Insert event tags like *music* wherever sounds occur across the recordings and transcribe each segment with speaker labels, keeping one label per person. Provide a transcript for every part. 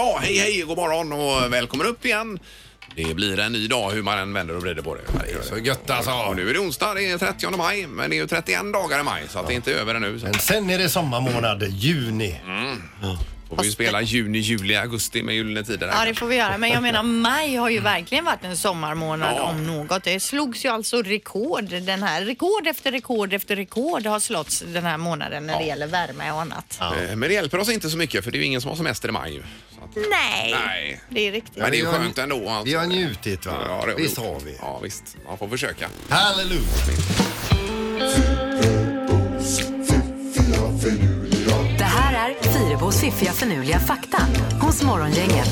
Speaker 1: Ah, Hej, hej, god morgon och välkommen upp igen. Det blir en ny dag hur man än vänder och vrider på det.
Speaker 2: Det är så gött alltså.
Speaker 1: Och nu är det onsdag, det är 30 maj, men det är ju 31 dagar i maj så att det är inte över ännu. Så
Speaker 2: Men sen är det sommarmånad, juni.
Speaker 1: Mm. får vi ju spela juni, juli, augusti med Gyllene Tider.
Speaker 3: Ja,
Speaker 1: här.
Speaker 3: det får vi göra. Men jag menar, maj har ju verkligen varit en sommarmånad
Speaker 1: Ja.
Speaker 3: om något. Det slogs ju alltså rekord. Den här rekord efter rekord efter rekord har slåtts den här månaden när det gäller värme och annat.
Speaker 1: Eh, Men det hjälper oss inte så mycket för det är ju ingen som har semester i maj. Så att,
Speaker 3: Nej,
Speaker 1: nej.
Speaker 3: det är riktigt.
Speaker 1: Men det är ju
Speaker 2: vi har-
Speaker 1: skönt ändå. Alltså.
Speaker 2: Vi har njutit va?
Speaker 1: Ja, det
Speaker 2: Visst
Speaker 1: gjort.
Speaker 2: har vi.
Speaker 1: Ja, visst. Man får försöka.
Speaker 2: Halleluja!
Speaker 4: Det här är Fyrabos fiffiga förnuliga fakta hos Morgongänget.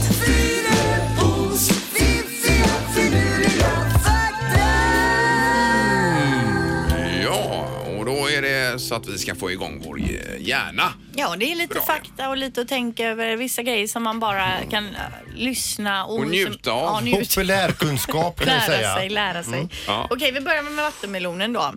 Speaker 1: Ja, och då är det så att vi ska få igång vår eh, hjärna.
Speaker 3: Ja, det är lite
Speaker 1: Bra, ja.
Speaker 3: fakta och lite att tänka över. Vissa grejer som man bara kan äh, lyssna och,
Speaker 1: Och njuta
Speaker 3: som,
Speaker 1: av.
Speaker 3: Ja, njuta.
Speaker 2: Populärkunskap kan jag
Speaker 3: Lära
Speaker 2: säga.
Speaker 3: sig, lära sig.
Speaker 1: Mm. Ja.
Speaker 3: Okej, vi börjar med vattenmelonen då.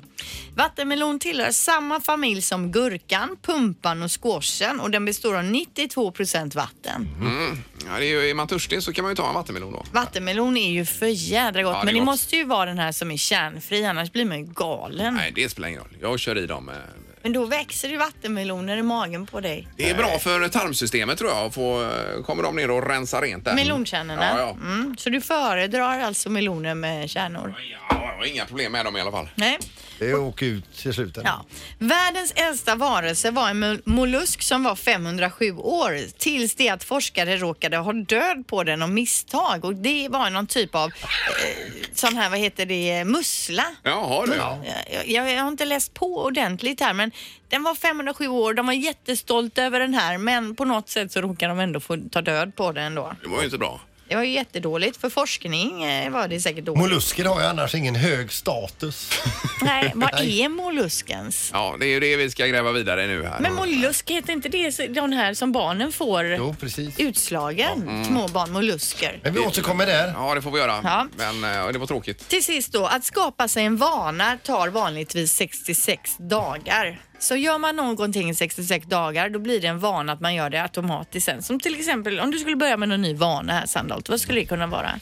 Speaker 3: Vattenmelon tillhör samma familj som gurkan, pumpan och squashen och den består av 92 procent vatten.
Speaker 1: Mm.
Speaker 2: Mm.
Speaker 1: Ja, det är, ju, är man törstig så kan man ju ta en vattenmelon då.
Speaker 3: Vattenmelon är ju för jädra gott,
Speaker 1: Ja, det är
Speaker 3: men det
Speaker 1: gott.
Speaker 3: måste ju vara den här som är kärnfri, annars blir man ju galen.
Speaker 1: Nej, det spelar ingen roll. Jag kör i dem. eh.
Speaker 3: Men då växer ju vattenmeloner i magen på dig.
Speaker 1: Det är bra för tarmsystemet tror jag. att Få, eh, kommer de ner och rensar rent där.
Speaker 3: Melonkärnorna.
Speaker 1: Ja, ja.
Speaker 3: Mm, så du föredrar alltså meloner med kärnor?
Speaker 1: ja, jag har inga problem med dem i alla fall.
Speaker 3: Nej.
Speaker 2: Det åker ut till slutet.
Speaker 3: Ja. Världens äldsta varelse var en mol- mollusk som var 507 år tills det att forskare råkade ha död på den av misstag och det var någon typ av eh, sån här, vad heter det, mussla.
Speaker 1: Jaha du. Ja.
Speaker 3: Jag, jag, jag har inte läst på ordentligt här men den var 507 år, de var jättestolta över den här men på något sätt så råkade de ändå få ta död på den då.
Speaker 1: Det var ju inte bra.
Speaker 3: Det var ju jättedåligt för forskning eh, var det säkert dåligt.
Speaker 2: Mollusker har ju annars ingen hög status.
Speaker 3: *laughs* Nej, vad är molluskens?
Speaker 1: Ja, det är ju det vi ska gräva vidare i nu här.
Speaker 3: Men mollusk, heter inte det så- de här som barnen får?
Speaker 2: Jo, precis.
Speaker 3: Utslagen,
Speaker 1: Mm.
Speaker 3: små barn, mollusker.
Speaker 2: Men vi återkommer där.
Speaker 1: Ja, det får vi göra.
Speaker 3: Ja.
Speaker 1: Men eh, det var tråkigt.
Speaker 3: Till sist då, att skapa sig en vana tar vanligtvis 66 dagar. Så gör man någonting i 66 dagar, då blir det en vana att man gör det automatiskt sen. Som till exempel om du skulle börja med någon ny vana här Sandholt, vad skulle det kunna vara?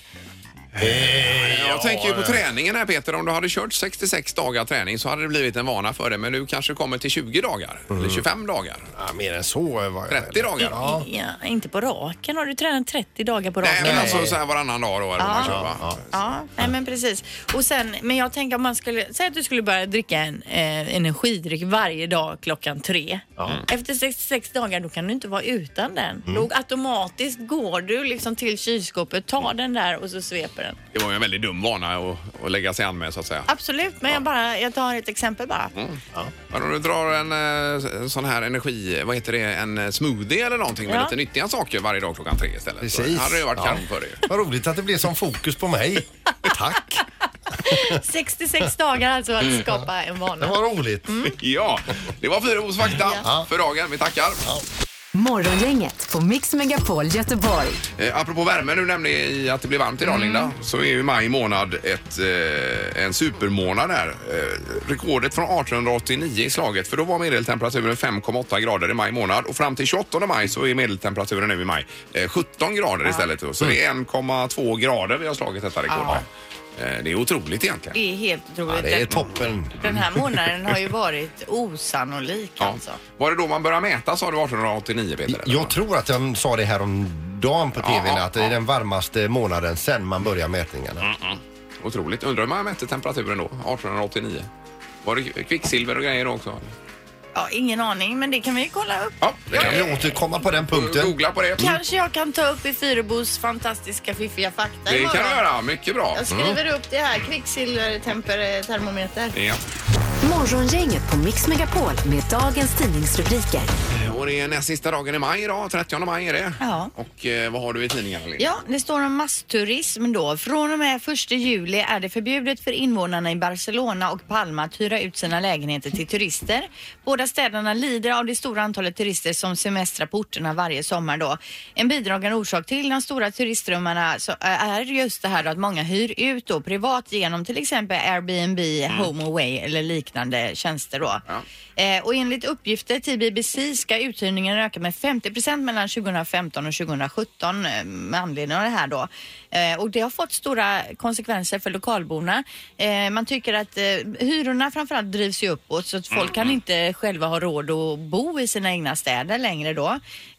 Speaker 1: Jag tänker ju på träningen här Peter. Om du hade kört 66 dagar träning så hade det blivit en vana för dig. Men du kanske kommer till 20 dagar eller 25 dagar.
Speaker 2: Ja, mer än så. Var
Speaker 1: 30 dagar.
Speaker 2: Ja.
Speaker 3: Ja, inte på raken, har du tränat 30 dagar på
Speaker 1: Nej,
Speaker 3: raken?
Speaker 1: men alltså så här varannan dag då. Eller vad man kör, va?
Speaker 3: Ja, nej men precis. Och sen, men jag tänker om man skulle, säg att du skulle börja dricka en eh, energidryck varje dag klockan tre. Efter 66 dagar då kan du inte vara utan den.
Speaker 2: Mm.
Speaker 3: Då automatiskt går du liksom till kylskåpet, tar den där och så sveper den.
Speaker 1: Det var ju en väldigt dum vana att, att lägga sig an med så att säga.
Speaker 3: Absolut, men jag, bara, jag tar ett exempel bara.
Speaker 2: Mm.
Speaker 1: Men om du drar en eh, sån här energi, vad heter det, en eh, smoothie eller någonting med
Speaker 3: Ja.
Speaker 1: lite nyttiga saker varje dag klockan tre istället.
Speaker 2: Precis.
Speaker 1: Så hade det ju varit
Speaker 2: Ja.
Speaker 1: kanon för dig. *laughs*
Speaker 2: Vad roligt att det blev som fokus på mig. Tack.
Speaker 3: 66 dagar alltså att skapa en
Speaker 2: Mm. Det
Speaker 3: vana.
Speaker 2: var roligt.
Speaker 3: Mm.
Speaker 1: Ja, det var Fyrabos fakta
Speaker 2: Ja.
Speaker 1: för dagen. Vi tackar.
Speaker 4: Morgongänget på Mix Megapol Göteborg.
Speaker 1: Eh, apropå värme, nu nämnde i att det blir varmt idag Linda, så är ju maj månad ett, eh, en supermånad här. Eh, rekordet från 1889 i slaget, för då var medeltemperaturen 5,8 grader i maj månad och fram till 28 maj så är medeltemperaturen nu i maj eh, 17 grader istället. då. Så det är 1,2 grader vi har slagit detta rekord med. Eh, det är otroligt egentligen.
Speaker 3: Det är helt otroligt.
Speaker 2: Ja, det är toppen.
Speaker 3: den här månaden har ju varit osannolik
Speaker 1: Ja.
Speaker 3: alltså.
Speaker 1: Var det då man började mäta sa du 1889 Peter? eller?
Speaker 2: Jag tror att jag sa det här om dagen på tvn
Speaker 1: Ja,
Speaker 2: att det är
Speaker 1: ja.
Speaker 2: den varmaste månaden sen man börjar mätningarna.
Speaker 1: Otroligt. Undrar hur man mätte temperaturen då, 1889? Var det kvicksilver och grejer då också?
Speaker 3: Ja, ingen aning, men det kan vi ju kolla upp.
Speaker 1: Ja, det
Speaker 2: Kan vi återkomma på den punkten?
Speaker 1: Googla på det.
Speaker 3: Kanske jag kan ta upp i Fyrebos fantastiska fiffiga fakta
Speaker 1: Det kan
Speaker 3: imorgon.
Speaker 1: du göra. Mm. Mycket bra.
Speaker 3: Jag skriver upp det här, kvicksilvertermometer.
Speaker 1: Mm. Ja.
Speaker 4: Morgongänget på Mix Megapol med dagens tidningsrubriker.
Speaker 1: Eh, Och det är näst sista dagen i maj idag. 30 maj är det.
Speaker 3: Ja.
Speaker 1: Och eh, vad har du i tidningarna, Linda?
Speaker 3: Ja, det står om massturism då. Från och med 1 juli är det förbjudet för invånarna i Barcelona och Palma att hyra ut sina lägenheter till turister. Båda städerna lider av det stora antalet turister som semestrar på orterna varje sommar då. En bidragande orsak till de stora turistströmmarna så eh, är just det här då att många hyr ut då privat genom till exempel Airbnb, HomeAway eller liknande. uthyrande tjänster då.
Speaker 1: Ja.
Speaker 3: Eh, och enligt uppgifter till BBC ska uthyrningen öka med 50 mellan 2015 och 2017 eh, med anledning av det här då. Eh, och det har fått stora konsekvenser för lokalborna. Eh, man tycker att eh, hyrorna framförallt drivs ju uppåt så att folk kan
Speaker 1: Mm.
Speaker 3: inte själva ha råd att bo i sina egna städer längre då.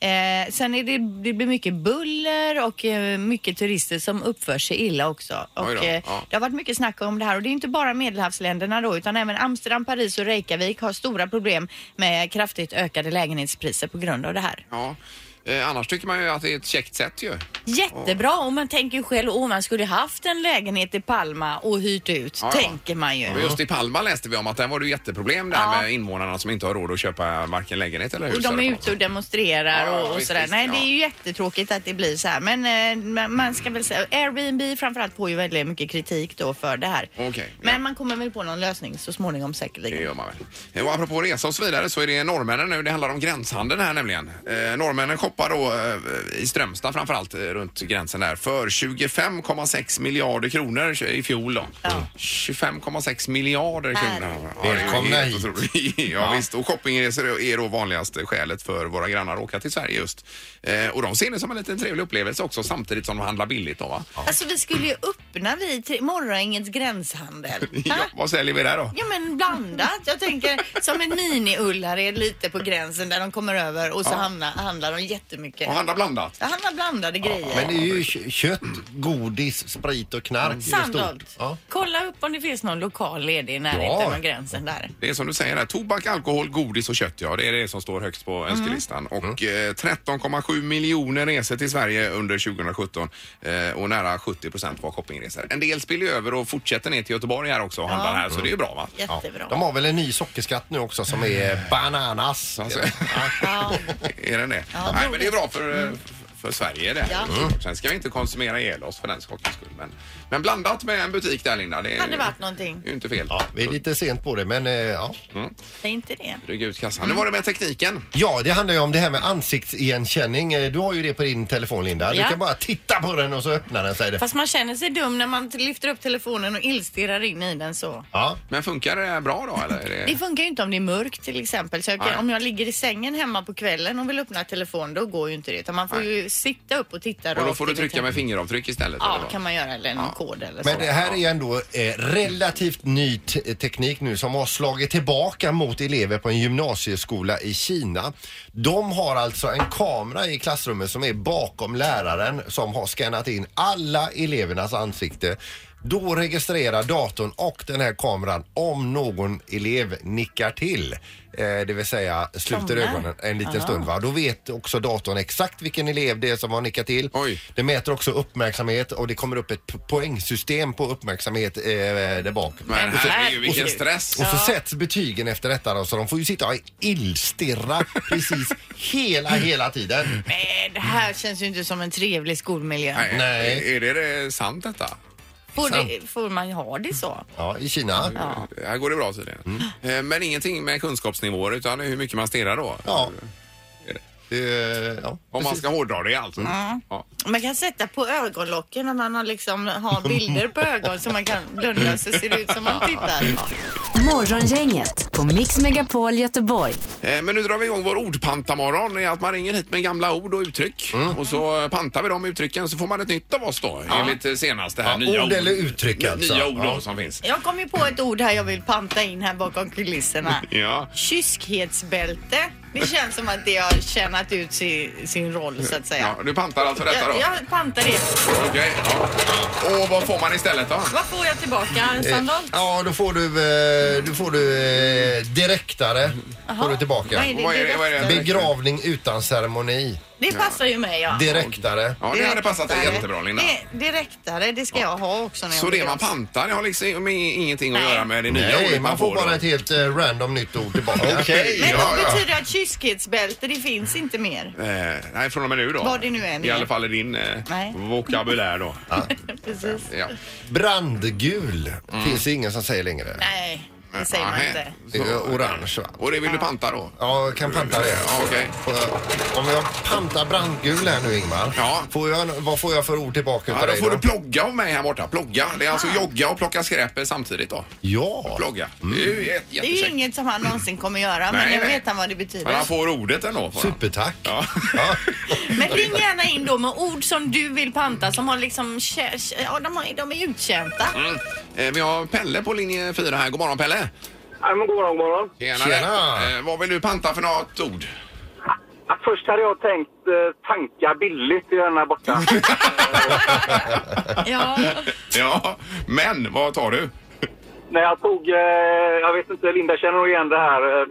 Speaker 3: Eh, sen är det, det blir mycket buller och eh, mycket turister som uppför sig illa också. Och,
Speaker 1: Oj då,
Speaker 3: eh,
Speaker 1: ja.
Speaker 3: det har varit mycket snack om det här och det är inte bara medelhavsländerna då utan även Amsterdam, Paris och Reykjavik har stora problem med kraftigt ökade lägenhetspriser på grund av det här.
Speaker 1: Ja. Eh, annars tycker man ju att det är ett käckt sätt ju.
Speaker 3: Jättebra och man tänker ju själv om man skulle haft en lägenhet i Palma och hyrt ut,
Speaker 1: Ja, ja.
Speaker 3: tänker man ju.
Speaker 1: Men Just i Palma läste vi om att där var det ju jätteproblem där
Speaker 3: Ja.
Speaker 1: med invånarna som inte har råd att köpa varken lägenhet eller hus.
Speaker 3: Och de
Speaker 1: eller
Speaker 3: är
Speaker 1: något.
Speaker 3: ute och
Speaker 1: Ja,
Speaker 3: demonstrerar
Speaker 1: ja,
Speaker 3: och, och
Speaker 1: visst,
Speaker 3: sådär.
Speaker 1: visst,
Speaker 3: Nej, det
Speaker 1: ja.
Speaker 3: är ju jättetråkigt att det blir så här. Men eh, ma- man ska väl säga, Airbnb framförallt får ju väldigt mycket kritik då för det här.
Speaker 1: Okej,
Speaker 3: Men
Speaker 1: ja.
Speaker 3: man kommer väl på någon lösning så småningom
Speaker 1: Det
Speaker 3: säkerligen.
Speaker 1: gör man väl. Och apropå resa och så vidare så är det norrmännen nu. Det handlar om gränshandeln här nämligen. Eh, norrmännen shoppar då eh, i Strömstad framförallt eh, runt gränsen där för 25,6 miljarder kronor i fjol då.
Speaker 3: Ja.
Speaker 1: 25,6 miljarder kronor. Ja, det är
Speaker 2: Välkomna
Speaker 1: helt
Speaker 2: hit.
Speaker 1: otroligt. *laughs* ja, visst. Och shoppingresor är då vanligaste skälet för våra grannar att åka till Sverige just. Eh, och de ser det som en liten trevlig upplevelse också samtidigt som de handlar billigt då va?
Speaker 3: Alltså vi skulle ju öppna vi till morgongängets
Speaker 2: *laughs*
Speaker 3: gränshandel.
Speaker 1: Ja,
Speaker 3: Ha?
Speaker 1: vad säljer vi där då?
Speaker 3: Ja men blandat. Jag tänker som en mini-Ullared lite på gränsen där de kommer över och så hamnar, handlar de jättemycket.
Speaker 1: Och handla blandat?
Speaker 3: Jag handlar blandade grejer.
Speaker 2: Men det är ju kö- kött, godis, sprit och knark. i det
Speaker 3: Sannolikt.
Speaker 2: stort. Ja.
Speaker 3: Kolla upp om det finns någon lokal ledig i närheten
Speaker 2: Ja.
Speaker 3: av gränsen där.
Speaker 1: Det är som du säger här, tobak, alkohol, godis och kött ja, det är det som står högst på
Speaker 3: Mm.
Speaker 1: önskelistan. Och eh, 13,7 miljoner resor till Sverige under 2017 eh, och nära 70 procent var shoppingresor. En del spiller ju över och fortsätter ner till Göteborg här också och handlar här så det är ju bra va?
Speaker 3: Jättebra.
Speaker 2: De har väl en ny sockerskatt nu också som är bananas.
Speaker 1: Alltså, *laughs*
Speaker 3: Ja.
Speaker 1: är den det?
Speaker 3: Ja,
Speaker 1: Nej
Speaker 3: roligt.
Speaker 1: men det är bra för, eh, för Sverige det. här.
Speaker 3: Ja.
Speaker 1: Sen ska vi inte konsumera ihjäl oss för den sakens skull. Men, men blandat med en butik där Linda, det är
Speaker 3: Hade
Speaker 1: ju-
Speaker 3: varit någonting.
Speaker 1: är ju inte fel.
Speaker 2: Ja, vi är lite sent på det men eh, ja.
Speaker 3: Säg inte det.
Speaker 1: Rygg ut kassan. Nu var det med tekniken.
Speaker 2: Ja, det handlar ju om det här med ansiktsigenkänning. Eh, Du har ju det på din telefon Linda. Du
Speaker 3: Ja.
Speaker 2: kan bara titta på den och så öppnar den sig.
Speaker 3: Fast man känner sig dum när man lyfter upp telefonen och illstirrar in i den så.
Speaker 2: Ja.
Speaker 1: Men funkar det bra då eller? Är det...
Speaker 3: Det funkar ju inte om det är mörkt till exempel. Så jag
Speaker 1: Nej.
Speaker 3: kan, om jag ligger i sängen hemma på kvällen och vill öppna telefonen då går ju inte det. Utan man får ju sitta upp och titta
Speaker 1: Och då
Speaker 3: rakt
Speaker 1: får du
Speaker 3: in i
Speaker 1: trycka med fingeravtryck istället? eller
Speaker 3: Ja,
Speaker 1: vad?
Speaker 3: kan man göra. Eller en
Speaker 1: Ja.
Speaker 3: kod eller så.
Speaker 2: Men det här är ändå eh, relativt ny te- teknik nu som har slagit tillbaka mot elever på en gymnasieskola i Kina. De har alltså en kamera i klassrummet som är bakom läraren som har skannat in alla elevernas ansikte. Då registrerar datorn och den här kameran om någon elev nickar till. Eh, det vill säga sluter
Speaker 3: Somnar.
Speaker 2: ögonen en liten stund. Va? Då vet också datorn exakt vilken elev det är som har nickat till.
Speaker 1: Oj.
Speaker 2: Det mäter också uppmärksamhet och det kommer upp ett po- poängsystem på uppmärksamhet eh, där bak.
Speaker 1: Men
Speaker 3: Men
Speaker 1: herregud, vilken
Speaker 3: herregud.
Speaker 1: stress!
Speaker 2: Och så sätts betygen efter detta då, så de får ju sitta och illstirra precis hela, hela tiden.
Speaker 3: Nej, det här känns ju inte som en trevlig skolmiljö.
Speaker 1: Nej.
Speaker 2: Nej.
Speaker 1: Är det, det sant detta?
Speaker 3: Får, det, får man ha det så?
Speaker 2: Ja, i Kina.
Speaker 3: Ja.
Speaker 1: Här går det bra tydligen.
Speaker 2: Mm.
Speaker 1: Eh, Men ingenting med kunskapsnivåer utan hur mycket man stirrar då?
Speaker 2: Ja.
Speaker 1: Är det?
Speaker 2: Eh, ja.
Speaker 1: Om man ska hårdra det alltså.
Speaker 2: Mm.
Speaker 1: Ja.
Speaker 3: Man kan sätta på ögonlocken när man har,
Speaker 1: *laughs*
Speaker 3: liksom, har bilder på ögon så man kan blunda så ser det ut som man tittar.
Speaker 1: *laughs*
Speaker 4: Morgongänget på Mix Megapol Göteborg.
Speaker 1: Eh, Men nu drar vi igång vår ordpantamorgon. Det är Att man ringer hit med gamla ord och uttryck
Speaker 2: Mm.
Speaker 1: och så eh, pantar vi de uttrycken så får man ett nytt av oss då enligt eh, senaste här.
Speaker 2: Ja, ord eller uttryck,
Speaker 1: Nya
Speaker 2: alltså.
Speaker 1: ord då,
Speaker 2: Ja.
Speaker 1: som finns.
Speaker 3: Jag kom ju på ett ord här jag vill panta in här bakom kulisserna.
Speaker 1: Ja.
Speaker 3: Kyskhetsbälte. Det känns som att det har tjänat ut sin, sin roll så att säga.
Speaker 1: Ja, du pantar alltså detta då?
Speaker 3: Jag, jag pantar det.
Speaker 1: Okej. Ja. Och vad får man istället då?
Speaker 3: Vad får jag tillbaka?
Speaker 1: Eh,
Speaker 3: En sandal?
Speaker 2: ja, då får du, eh, då får du eh, direktare får du tillbaka.
Speaker 3: Vad är det?
Speaker 1: Vad är det- vad är det?
Speaker 2: Begravning utan ceremoni.
Speaker 3: Det passar ju mig ja.
Speaker 2: Direktare.
Speaker 1: Ja, det hade passat dig
Speaker 3: Direktare.
Speaker 1: jättebra Linda.
Speaker 3: Det, direktare, det ska jag ha också när jag
Speaker 1: Så
Speaker 3: blir
Speaker 1: det man
Speaker 3: gross.
Speaker 1: pantar det har liksom ingenting att
Speaker 3: Nej.
Speaker 1: göra med det nya
Speaker 2: Nej,
Speaker 1: ordet
Speaker 2: man får
Speaker 1: då?
Speaker 2: bara ett helt eh, random nytt ord tillbaka.
Speaker 1: Okej.
Speaker 3: Men
Speaker 1: Ja,
Speaker 3: vad
Speaker 1: ja.
Speaker 3: betyder att kyskhetsbälte, det finns inte mer?
Speaker 1: Eh, nej, från och med nu då.
Speaker 3: Vad det nu är nu.
Speaker 1: I alla fall i din eh,
Speaker 3: Nej.
Speaker 1: vokabulär då.
Speaker 3: Precis.
Speaker 1: Ja. Mm.
Speaker 2: Brandgul finns det ingen som säger längre.
Speaker 3: Nej. Det säger man
Speaker 1: Nähä.
Speaker 3: inte.
Speaker 2: Det är orange va?
Speaker 1: Och det vill du panta då?
Speaker 2: Ja, jag kan panta det.
Speaker 1: Ja, okej.
Speaker 2: Får- Om jag pantar brandgul här nu Ingmar,
Speaker 1: Ja.
Speaker 2: får jag, vad får jag för ord tillbaka
Speaker 1: Ja,
Speaker 2: utav
Speaker 1: då
Speaker 2: dig
Speaker 1: får
Speaker 2: då?
Speaker 1: du plogga av mig här borta. Plogga. Det är alltså
Speaker 3: Ah.
Speaker 1: jogga och plocka skräp samtidigt då.
Speaker 2: Ja,
Speaker 1: Plogga.
Speaker 2: Mm.
Speaker 1: Det är ju jät-
Speaker 3: Det är ju
Speaker 1: jättekäckt.
Speaker 3: inget som han någonsin kommer göra, men
Speaker 1: Nej,
Speaker 3: nu
Speaker 1: nej.
Speaker 3: vet han vad det betyder.
Speaker 1: Men han får ordet ändå. Får han.
Speaker 2: supertack.
Speaker 1: Ja. *laughs*
Speaker 2: Ja.
Speaker 3: Men ring gärna in då med ord som du vill panta som har liksom... kä- kä- Ja, de, har, de är uttjänta.
Speaker 1: Mm. Eh, Vi har Pelle på linje 4 här. God morgon Pelle!
Speaker 5: Ja, men god morgon, god morgon.
Speaker 2: Tjena.
Speaker 1: Eh, Vad vill du panta för något ord?
Speaker 5: Ja, Först hade jag tänkt eh, tanka billigt i den här *laughs* borta.
Speaker 3: Ja.
Speaker 1: Ja, men vad tar du?
Speaker 5: När jag tog, eh, jag vet inte, Linda känner nog igen det här, eh,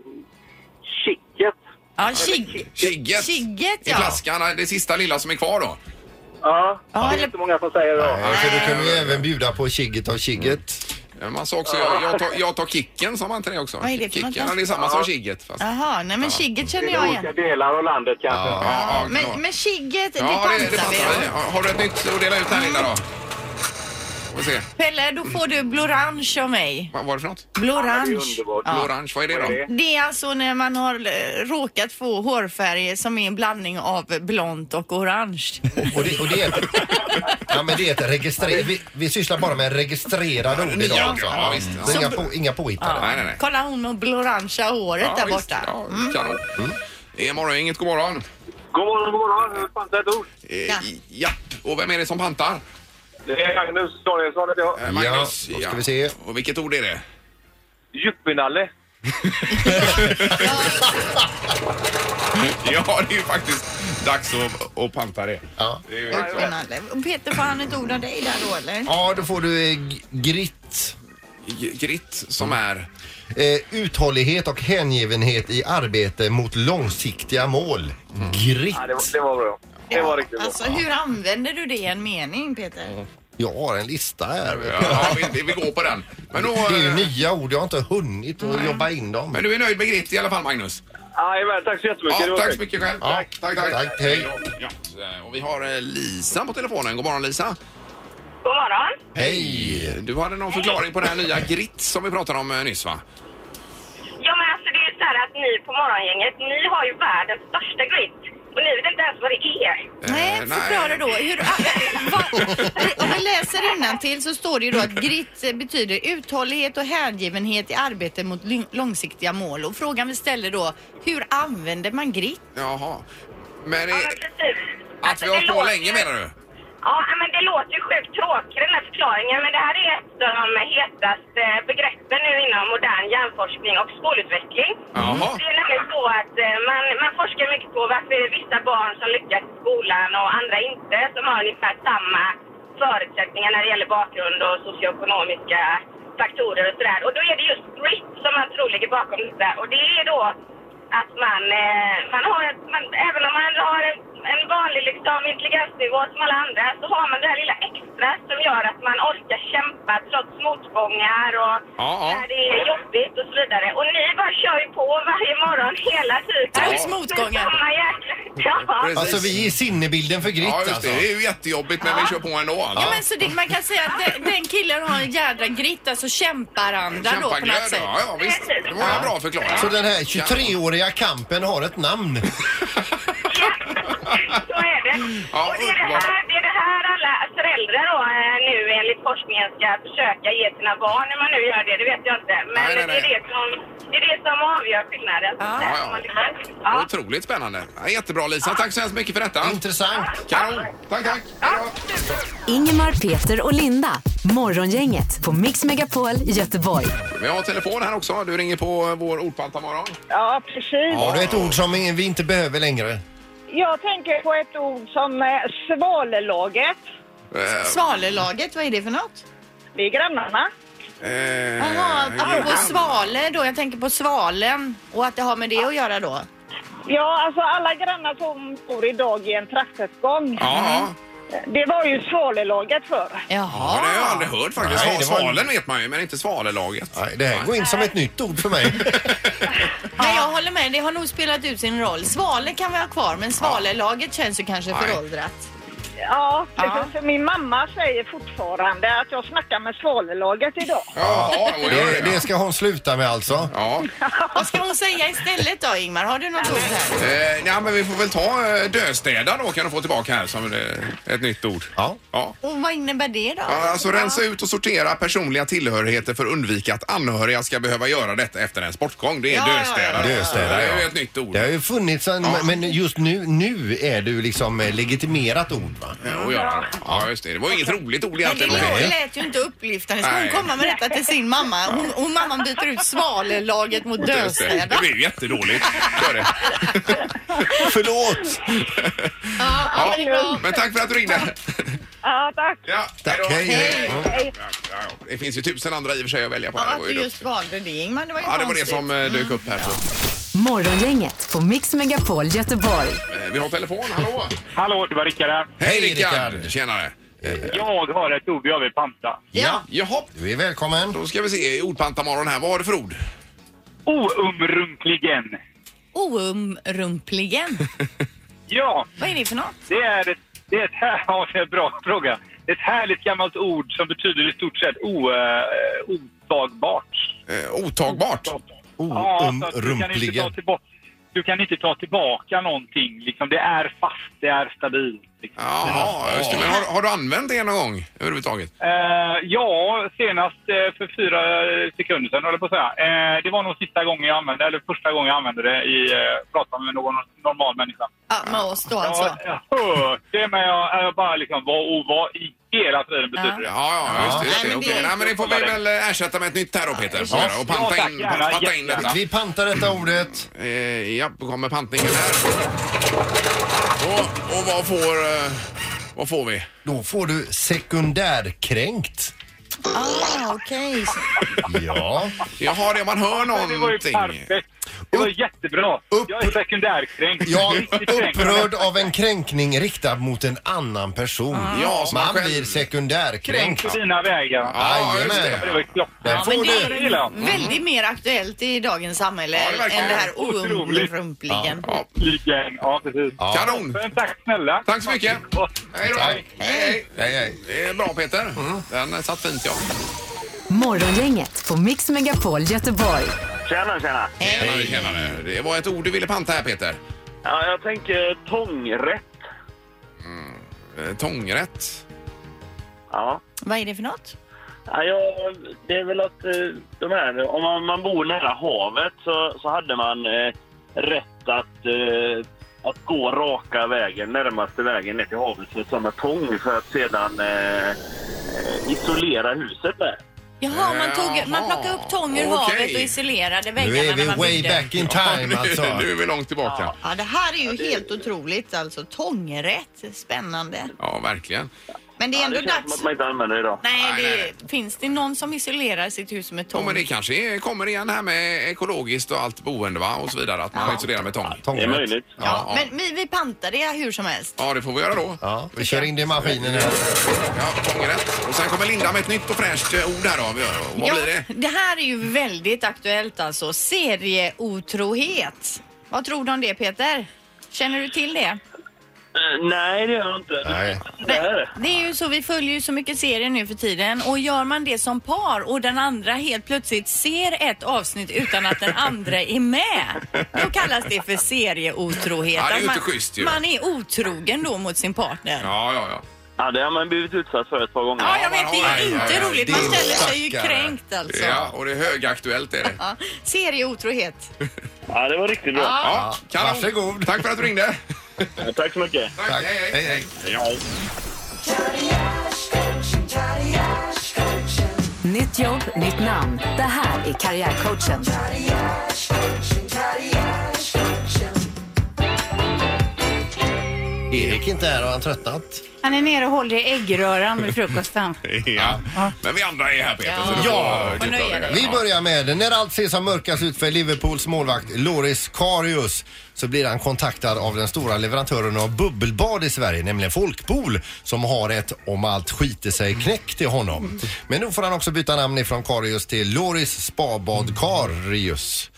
Speaker 5: chicket.
Speaker 3: Ja, chig...
Speaker 1: Chigget.
Speaker 3: Chigget,
Speaker 1: I
Speaker 3: ja.
Speaker 1: flaskan, det sista lilla som är kvar då.
Speaker 5: Ja,
Speaker 3: Ja,
Speaker 5: det
Speaker 3: eller-
Speaker 5: är inte många som säger det.
Speaker 2: Nej, för du kunde ju även bjuda på chigget av chigget.
Speaker 1: Eh, Man sa också, jag, jag, tar, jag tar kicken, sa man inte det också?
Speaker 3: Vad är det för något?
Speaker 1: kicken, ja, det är samma som chigget. Fast. Ja,
Speaker 3: Jaha, nej men chigget
Speaker 5: Det
Speaker 3: känner
Speaker 5: är
Speaker 3: jag
Speaker 5: olika
Speaker 3: igen.
Speaker 5: delar av landet kanske.
Speaker 1: ja, ja, kan vara.
Speaker 3: Men, men chigget, det
Speaker 1: ja det, det
Speaker 3: pantar
Speaker 1: passar
Speaker 3: vi.
Speaker 1: dig. Har du ett nytt att dela ut här Linda då? Får vi se.
Speaker 3: Pelle, då får du blorange av mig.
Speaker 1: Vad var det för något?
Speaker 5: det är
Speaker 3: Blorange.
Speaker 5: underbart.
Speaker 1: Ja. Orange, vad är det
Speaker 5: Vad är
Speaker 1: då?
Speaker 5: det?
Speaker 3: Det är alltså när man har eh, råkat få hårfärger som är en blandning av blont och orange.
Speaker 2: Och det, och det är ett, ja, men det är ett registrer, vi, vi sysslar bara med registrerade ord idag.
Speaker 1: ja,
Speaker 2: alltså.
Speaker 1: ja, visst.
Speaker 2: Så Inga, på, inga påhittade.
Speaker 1: Nej, nej, nej.
Speaker 3: Kolla hon med blorangea håret där
Speaker 1: visst.
Speaker 3: borta. Mm.
Speaker 1: Ja, kanon. Det är morgongänget, god Eh, morgon.
Speaker 5: God morgon, god morgon. Jag fattar ett ord.
Speaker 1: Eh,
Speaker 3: Ja.
Speaker 1: ja. Och vem är det som pantar?
Speaker 5: Det är Magnus Danielsson heter jag.
Speaker 1: Eh,
Speaker 2: då ska vi se.
Speaker 1: Och vilket ord är det?
Speaker 5: Djupinalle.
Speaker 1: Ja, det är ju faktiskt dags att, att panta det.
Speaker 2: Ja.
Speaker 1: Det är ju helt klart.
Speaker 3: Spännande. Och Peter, får han ett ord av dig där då eller?
Speaker 2: Ja, då får du eh, g- gritt.
Speaker 1: G- Gritt som är...
Speaker 2: Eh, uthållighet och hängivenhet i arbete mot långsiktiga mål.
Speaker 1: Mm.
Speaker 2: Gritt.
Speaker 5: Ja, det, var, det var bra. Det var riktigt bra.
Speaker 3: Alltså hur använder du det i en mening
Speaker 1: Mm.
Speaker 3: Peter?
Speaker 2: Jag har en lista här. vet du.
Speaker 1: Ja, vi, vi går på den. Men, då,
Speaker 2: Det är ju
Speaker 1: eh,
Speaker 2: nya ord, jag har inte hunnit att jobba in dem.
Speaker 1: men du är nöjd med gritt i alla fall, Magnus?
Speaker 5: Jajamän, tack så jättemycket. Det
Speaker 1: Ja,
Speaker 5: var
Speaker 1: tack
Speaker 5: fint.
Speaker 1: så mycket själv.
Speaker 2: Ja, tack, hej.
Speaker 1: Ja, och vi har eh, Lisa på telefonen. God morgon, Lisa.
Speaker 6: God morgon.
Speaker 2: Hej!
Speaker 1: Du hade någon förklaring på det här nya gritt som vi pratade om eh, nyss, va?
Speaker 6: Ja, men alltså det är så här att ni på morgongänget, ni har ju världens största grit. Och ni vet inte ens vad det är.
Speaker 1: Eh,
Speaker 3: Nej, förklara då. Hur, ah, va, *laughs* om vi läser till så står det ju då att grit betyder uthållighet och hängivenhet i arbete mot ly- långsiktiga mål. Och frågan vi ställer då, hur använder man grit?
Speaker 1: Jaha. Men
Speaker 6: Ja,
Speaker 1: eh,
Speaker 6: men precis.
Speaker 1: att
Speaker 6: Alltså,
Speaker 1: vi har hållit på länge menar du?
Speaker 6: Ja, men det låter ju sjukt tråkigt den här förklaringen, men det här är ett av de hetaste begreppen nu inom modern hjärnforskning och skolutveckling.
Speaker 1: Jaha.
Speaker 6: Det är nämligen så att eh, man, man forskar mycket på varför vissa barn som lyckas i skolan och andra inte, som har ungefär samma förutsättningar när det gäller bakgrund och socioekonomiska faktorer och sådär. Och då är det just grit som man tror ligger bakom detta. Och det är då att man, eh, man har, ett- man, även om man har en, en vanlig liksom, intelligensnivå som alla andra, så har man det här lilla extra som gör att man orkar kämpa trots motgångar och
Speaker 1: Ja, ja.
Speaker 6: när det är jobbigt och så vidare. Och ni bara kör ju på varje morgon hela tiden.
Speaker 3: Trots motgångar.
Speaker 6: Med samma jäkla... Ja.
Speaker 1: Precis.
Speaker 2: Alltså vi är sinnebilden för gritt
Speaker 1: Ja, just
Speaker 2: alltså.
Speaker 1: det. Det är ju jättejobbigt, men vi kör på ändå. Alltså.
Speaker 3: Ja, men så det, man kan säga att den, den killen har en jädra grit, alltså kämparanda då på något
Speaker 1: Kämpaglöd,
Speaker 3: sätt.
Speaker 1: ja, ja visst. Det var en bra förklaring.
Speaker 2: Så den här 23-åriga kampen har ett namn.
Speaker 6: Så är det.
Speaker 1: Ja,
Speaker 6: och det är det, här, det är det här alla föräldrar då, eh, nu enligt forskningen ska försöka ge sina barn. Hur man nu gör det, det vet jag inte.
Speaker 1: Nej,
Speaker 6: Men
Speaker 1: nej, nej.
Speaker 6: Det, är det, som, det är det som avgör skillnaden.
Speaker 1: Ja, ja.
Speaker 6: Om man lyckas. Ja.
Speaker 1: *laughs* Otroligt spännande. Ja, jättebra Lisa. Tack så hemskt mycket för detta.
Speaker 2: Intressant.
Speaker 1: Kanon. Tack, tack. Hej då.
Speaker 4: Ingemar, Peter och Linda. Morgongänget på Mix Megapol Göteborg.
Speaker 1: Vi har telefon här också. Du ringer på vår ordpantamorgon.
Speaker 7: Ja, precis.
Speaker 2: Har du ett ord som vi inte behöver längre?
Speaker 7: Jag tänker på ett ord som eh, svalelaget.
Speaker 1: Eh,
Speaker 3: Svalelaget, vad är det för något?
Speaker 7: Vi är grannarna.
Speaker 1: eh,
Speaker 3: Jaha, apropå
Speaker 1: Johan.
Speaker 3: svale då. Jag tänker på svalen och att det har med det att göra då.
Speaker 7: Ja, alltså alla grannar som bor idag i en traktuppgång.
Speaker 1: Ja,
Speaker 3: Mm.
Speaker 7: Det var ju svalelaget förr.
Speaker 1: ja, det har jag
Speaker 3: Jaha.
Speaker 1: aldrig hört faktiskt.
Speaker 2: Nej, det var-
Speaker 1: Svalen vet man ju, men inte svalelaget.
Speaker 2: Nej, det här går in som ett nytt ord
Speaker 1: *laughs*
Speaker 2: för mig.
Speaker 3: Nej,
Speaker 1: Ah.
Speaker 3: jag håller med. Det har nog spelat ut sin roll. Svale kan vi ha kvar, men svalelaget känns ju kanske
Speaker 1: Nej.
Speaker 3: föråldrat.
Speaker 7: Ja,
Speaker 3: Ja.
Speaker 7: för min mamma säger fortfarande att jag snackar med Svalelaget idag.
Speaker 1: Jaha, ja, ja,
Speaker 2: Det, det ska hon sluta med alltså.
Speaker 1: ja.
Speaker 3: Vad ska hon säga istället då Ingmar? Har du något ord här?
Speaker 1: Eh, nej, men vi får väl ta eh, döstäda då kan du få tillbaka här som eh, ett nytt ord.
Speaker 2: Ja.
Speaker 1: ja.
Speaker 3: Och vad innebär det då?
Speaker 1: Ja, alltså rensa ut och sortera personliga tillhörigheter för att undvika att anhöriga ska behöva göra detta efter en sportgång. Det är
Speaker 3: Ja, ja,
Speaker 1: döstäda.
Speaker 2: ja, ja. Döstäda,
Speaker 1: Det är ju
Speaker 2: ja.
Speaker 1: ett nytt ord.
Speaker 2: Det har ju funnits en,
Speaker 1: Ja.
Speaker 2: men just nu, nu är det ju liksom eh, legitimerat ord va?
Speaker 1: Att göra. Ja, just det. Det var inget roligt ord
Speaker 3: Men det
Speaker 1: egentligen.
Speaker 2: var-
Speaker 3: lå- lät ju inte upplyftande. Ska hon
Speaker 1: Nej.
Speaker 3: komma med detta till sin mamma? Hon, och mamman byter ut svalelaget mot
Speaker 1: Döstäda.
Speaker 3: döstäda.
Speaker 1: Det blir ju jättedåligt. Gör det.
Speaker 2: *laughs* Förlåt!
Speaker 3: Ja, men det är bra.
Speaker 1: Men tack för att du ringde.
Speaker 7: Ja, tack.
Speaker 1: Ja,
Speaker 2: Tack,
Speaker 1: då.
Speaker 2: hej, hej.
Speaker 1: Ja, ja, ja. Det finns ju tusen andra i och för sig att välja på.
Speaker 3: Ja,
Speaker 1: här.
Speaker 3: att du just valde det Ingmar, det var ju
Speaker 1: Ja, det var det
Speaker 3: konstigt.
Speaker 1: som eh, dök upp här. Så.
Speaker 4: Morgongänget på Mix Megapol Göteborg.
Speaker 1: Eh, Vi har telefon, hallå!
Speaker 5: Hallå, det var Rickard här.
Speaker 1: Hej
Speaker 2: Hej, Rickard.
Speaker 1: Rickard! Tjenare!
Speaker 5: Jag har ett ord jag vill panta.
Speaker 3: Ja.
Speaker 1: Jaha,
Speaker 2: Du är välkommen.
Speaker 1: då ska vi se i ordpantamorgon här. Vad har du för ord?
Speaker 5: Oumrunkligen.
Speaker 3: Oumrumpligen.
Speaker 5: Ja,
Speaker 3: Vad är det för något?
Speaker 5: det är ett, det är ett, här, *laughs* ja, det är en bra fråga. Det är ett härligt gammalt ord som betyder i stort sett o, eh, otagbart.
Speaker 1: Eh, otagbart?
Speaker 5: så att du, kan inte ta tillbaka, du kan inte ta tillbaka någonting. Liksom, det är fast, det är stabilt. Liksom.
Speaker 1: Jaha, just det. Men har, har du använt det någon gång överhuvudtaget?
Speaker 5: Eh, ja, senast eh, för fyra sekunder sedan, höll jag på att säga. Eh, det var nog sista gången jag använde eller första gången jag använde det i eh, prata med någon normal människa.
Speaker 3: Ja, med oss då alltså.
Speaker 5: Ja, jag hörde det, men jag, jag bara liksom vad och vad i hela tiden betyder det.
Speaker 1: Ja, ja, just det. Just
Speaker 3: Nej,
Speaker 1: det.
Speaker 3: men det-
Speaker 1: Okej. Nej, men det får vi väl eh, ersätta med ett nytt här då, Peter. Får
Speaker 2: Ja.
Speaker 1: vi göra. Och panta
Speaker 5: Ja,
Speaker 1: in,
Speaker 5: tack, gärna,
Speaker 1: panta in detta.
Speaker 2: Vi pantar detta ordet.
Speaker 1: Eh, ja, då kommer pantningen här. Och, och vad får... eh, Vad får vi?
Speaker 2: Då får du sekundärkränkt.
Speaker 3: Ah, okej.
Speaker 2: Ja.
Speaker 1: Jaha, det man hör
Speaker 5: Det var ju
Speaker 1: någonting.
Speaker 5: perfekt. Det var jättebra.
Speaker 2: Upp-
Speaker 5: Jag är sekundärkränkt.
Speaker 2: Ja,
Speaker 5: Riktigt kränkt.
Speaker 2: upprörd av en kränkning riktad mot en annan person.
Speaker 1: Ah. Ja, som man
Speaker 2: Man
Speaker 1: själv-
Speaker 2: blir sekundärkränkt.
Speaker 5: Kränkt på dina vägar.
Speaker 1: Ja, just
Speaker 2: Jajamän.
Speaker 1: det.
Speaker 5: Det var ju klockrent.
Speaker 2: Där
Speaker 3: Men
Speaker 2: får
Speaker 3: det
Speaker 2: du.
Speaker 5: det gillar jag.
Speaker 3: är väldigt mer aktuellt i dagens samhälle
Speaker 1: Ja, det verkar
Speaker 3: än det här
Speaker 5: otroligt.
Speaker 3: oumrumpligen.
Speaker 1: Ja.
Speaker 5: Liken. Ja, precis.
Speaker 1: Kanon!
Speaker 5: Men tack snälla.
Speaker 1: Tack så mycket. Hej då! Hej,
Speaker 2: Tack.
Speaker 1: hej.
Speaker 2: Hej, hej.
Speaker 1: Det är bra, Peter. Den satt fint, ja.
Speaker 4: Morgongänget på Mix Megapol Göteborg.
Speaker 5: Tjena, tjena.
Speaker 1: Tjenare, tjenare. Det var ett ord du ville panta här, Peter.
Speaker 5: Ja, jag tänker tångrätt.
Speaker 1: Eh, Tångrätt.
Speaker 5: Ja.
Speaker 3: Vad är det för något?
Speaker 5: Ja, jag, det är väl att eh, de här, om man, man bor nära havet så, så hade man eh, rätt att, eh, att gå raka vägen, närmaste vägen ner till havet med sådana tång för att sedan eh, eh, isolera huset med.
Speaker 3: Jaha, man, tog, man plockade upp tång ur
Speaker 1: Jaha,
Speaker 3: havet
Speaker 1: okej.
Speaker 3: och isolerade
Speaker 2: Nu
Speaker 3: väggarna
Speaker 2: är
Speaker 3: när
Speaker 2: vi
Speaker 3: man
Speaker 2: way
Speaker 3: byggde.
Speaker 2: back in time alltså.
Speaker 1: Nu är vi långt tillbaka.
Speaker 3: Ja, det här är ju helt otroligt alltså. Tångrätt. Spännande.
Speaker 1: Ja, verkligen.
Speaker 3: Men det är
Speaker 5: Ja,
Speaker 3: ändå
Speaker 5: det känns som
Speaker 3: dags.
Speaker 5: att man inte använder det idag.
Speaker 3: Nej,
Speaker 1: Nej, nej,
Speaker 3: det, finns det någon som isolerar sitt hus med
Speaker 1: Ja,
Speaker 3: tång?
Speaker 1: men det kanske är, kommer igen här med ekologiskt och allt boende va? och så vidare, att man isolerar med tång.
Speaker 5: Det är möjligt.
Speaker 3: Ja, Men vi, vi pantar det hur som helst.
Speaker 1: Ja, det får vi göra då.
Speaker 2: Ja, vi kör in det i maskinen här.
Speaker 1: Ja, tångrätt. Och sen kommer Linda med ett nytt och fräscht eh, ord här då. Och Vad blir det?
Speaker 3: här är ju väldigt aktuellt alltså. Serieotrohet. Vad tror du om det Peter? Känner du till det?
Speaker 5: Eh, Nej, det gör jag inte.
Speaker 2: Nej.
Speaker 5: Det är det.
Speaker 3: Det är ju så, vi följer ju så mycket serier nu för tiden och gör man det som par och den andra helt plötsligt ser ett avsnitt utan att den andra är med. Då kallas det för serieotrohet.
Speaker 1: Ja, det är ju
Speaker 3: Att
Speaker 1: inte
Speaker 3: man,
Speaker 1: schysst ju.
Speaker 3: man är otrogen då mot sin partner.
Speaker 1: Ja, ja, ja.
Speaker 5: Ja, det har man blivit utsatt för ett par gånger.
Speaker 3: Ja, jag vet. Det
Speaker 1: Ja,
Speaker 3: är
Speaker 1: ja,
Speaker 3: inte
Speaker 1: ja.
Speaker 3: roligt. Man ställer sig ju kränkt alltså.
Speaker 1: Ja, och det är högaktuellt är det.
Speaker 3: Ja, serieotrohet.
Speaker 5: Ja, det var riktigt bra.
Speaker 1: Ja, kanon.
Speaker 2: Varsågod.
Speaker 1: Tack för att du ringde.
Speaker 5: Tack så mycket.
Speaker 1: Tack,
Speaker 2: Tack.
Speaker 1: Hej, hej.
Speaker 2: Hej, hej.
Speaker 4: Nytt jobb, nytt namn. Det här är Karriärcoachen.
Speaker 2: Erik är inte här, har han tröttnat?
Speaker 8: Han är nere och håller i äggröran med frukosten.
Speaker 1: Ja. Men vi andra är här Peter. så du får-
Speaker 2: Ja,
Speaker 1: du får
Speaker 3: nöja dig.
Speaker 1: det.
Speaker 2: Vi börjar med när allt ser som mörkast ut för Liverpools målvakt Loris Karius så blir han kontaktad av den stora leverantören av bubbelbad i Sverige, nämligen Folkpool som har ett om allt skiter sig knäck till honom. Men nu får han också byta namn ifrån Karius till Loris Spabad Karius.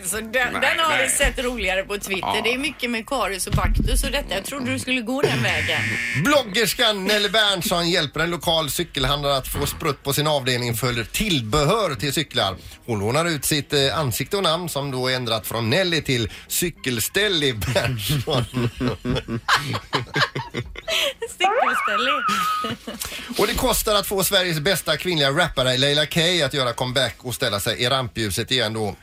Speaker 3: Alltså, den,
Speaker 1: Nej,
Speaker 3: den har
Speaker 1: nej.
Speaker 3: vi sett roligare på Twitter.
Speaker 1: Ja.
Speaker 3: Det är mycket med karius och baktus och detta. Jag trodde du skulle gå den vägen.
Speaker 2: Bloggerskan Nelly Berntsson hjälper en lokal cykelhandlare att få sprutt på sin avdelning för tillbehör till cyklar. Hon lånar ut sitt eh, ansikte och namn som då är ändrat från Nelly till Cykelställi Berntsson.
Speaker 3: Cykelställe.
Speaker 2: Och det kostar att få Sveriges bästa kvinnliga rappare Leila Kay att göra comeback och ställa sig i rampljuset igen då.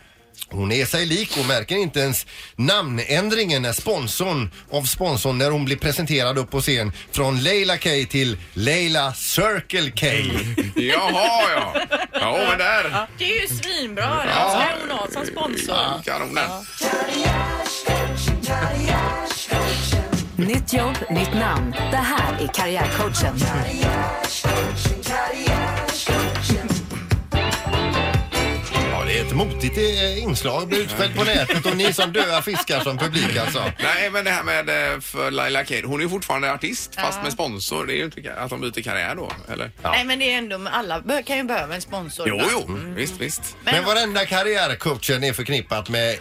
Speaker 2: Hon är sig lik och märker inte ens namnändringen när sponsorn av sponsorn när hon blir presenterad upp på scen från Leila K till Leila Circle K.
Speaker 1: Jaha, ja. Ja, men där.
Speaker 3: Det är ju svinbra. Den ska hon ha som sponsor.
Speaker 1: Kanonen.
Speaker 4: Nytt jobb, nytt namn. Det här är Karriärcoachen.
Speaker 2: Ja, det är ett motigt eh, inslag. Blir utskälld på nätet och ni som döda fiskar som publik alltså.
Speaker 1: Nej, men det här med eh, för Laila Cade. Hon är ju fortfarande artist fast med sponsor. Det är ju inte ka- att de byter karriär då, eller?
Speaker 3: Nej, men det är ändå med alla bö- kan ju behöva en sponsor.
Speaker 1: Jo,
Speaker 3: va?
Speaker 1: jo. Visst, visst.
Speaker 2: Men varenda karriärcoachen är förknippat med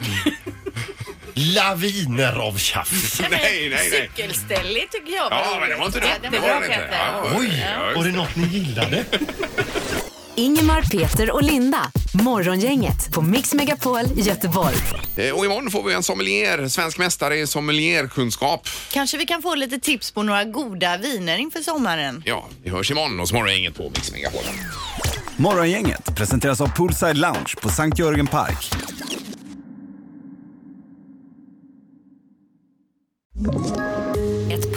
Speaker 2: laviner av tjafs.
Speaker 3: Nej,
Speaker 1: Nej,
Speaker 3: nej,
Speaker 1: nej, nej.
Speaker 3: Cykelställe tycker jag
Speaker 1: Ja, men det var inte dumt.
Speaker 3: Ja,
Speaker 1: Det
Speaker 3: Den var
Speaker 1: var
Speaker 3: bra
Speaker 1: det inte.
Speaker 3: Peter.
Speaker 1: Ja, ja.
Speaker 2: Oj, var det något ni gillade?
Speaker 4: Ingemar, Peter och Linda. Morgongänget på Mix Megapol Göteborg.
Speaker 1: Eh, Och imorgon får vi en sommelier, svensk mästare i sommelierkunskap.
Speaker 3: Kanske vi kan få lite tips på några goda viner inför sommaren.
Speaker 1: Ja, vi hörs imorgon och så morgon är inget på Mix Megapol.
Speaker 9: Morgongänget presenteras av Poolside Lounge på Sankt Jörgen Park.
Speaker 4: Ett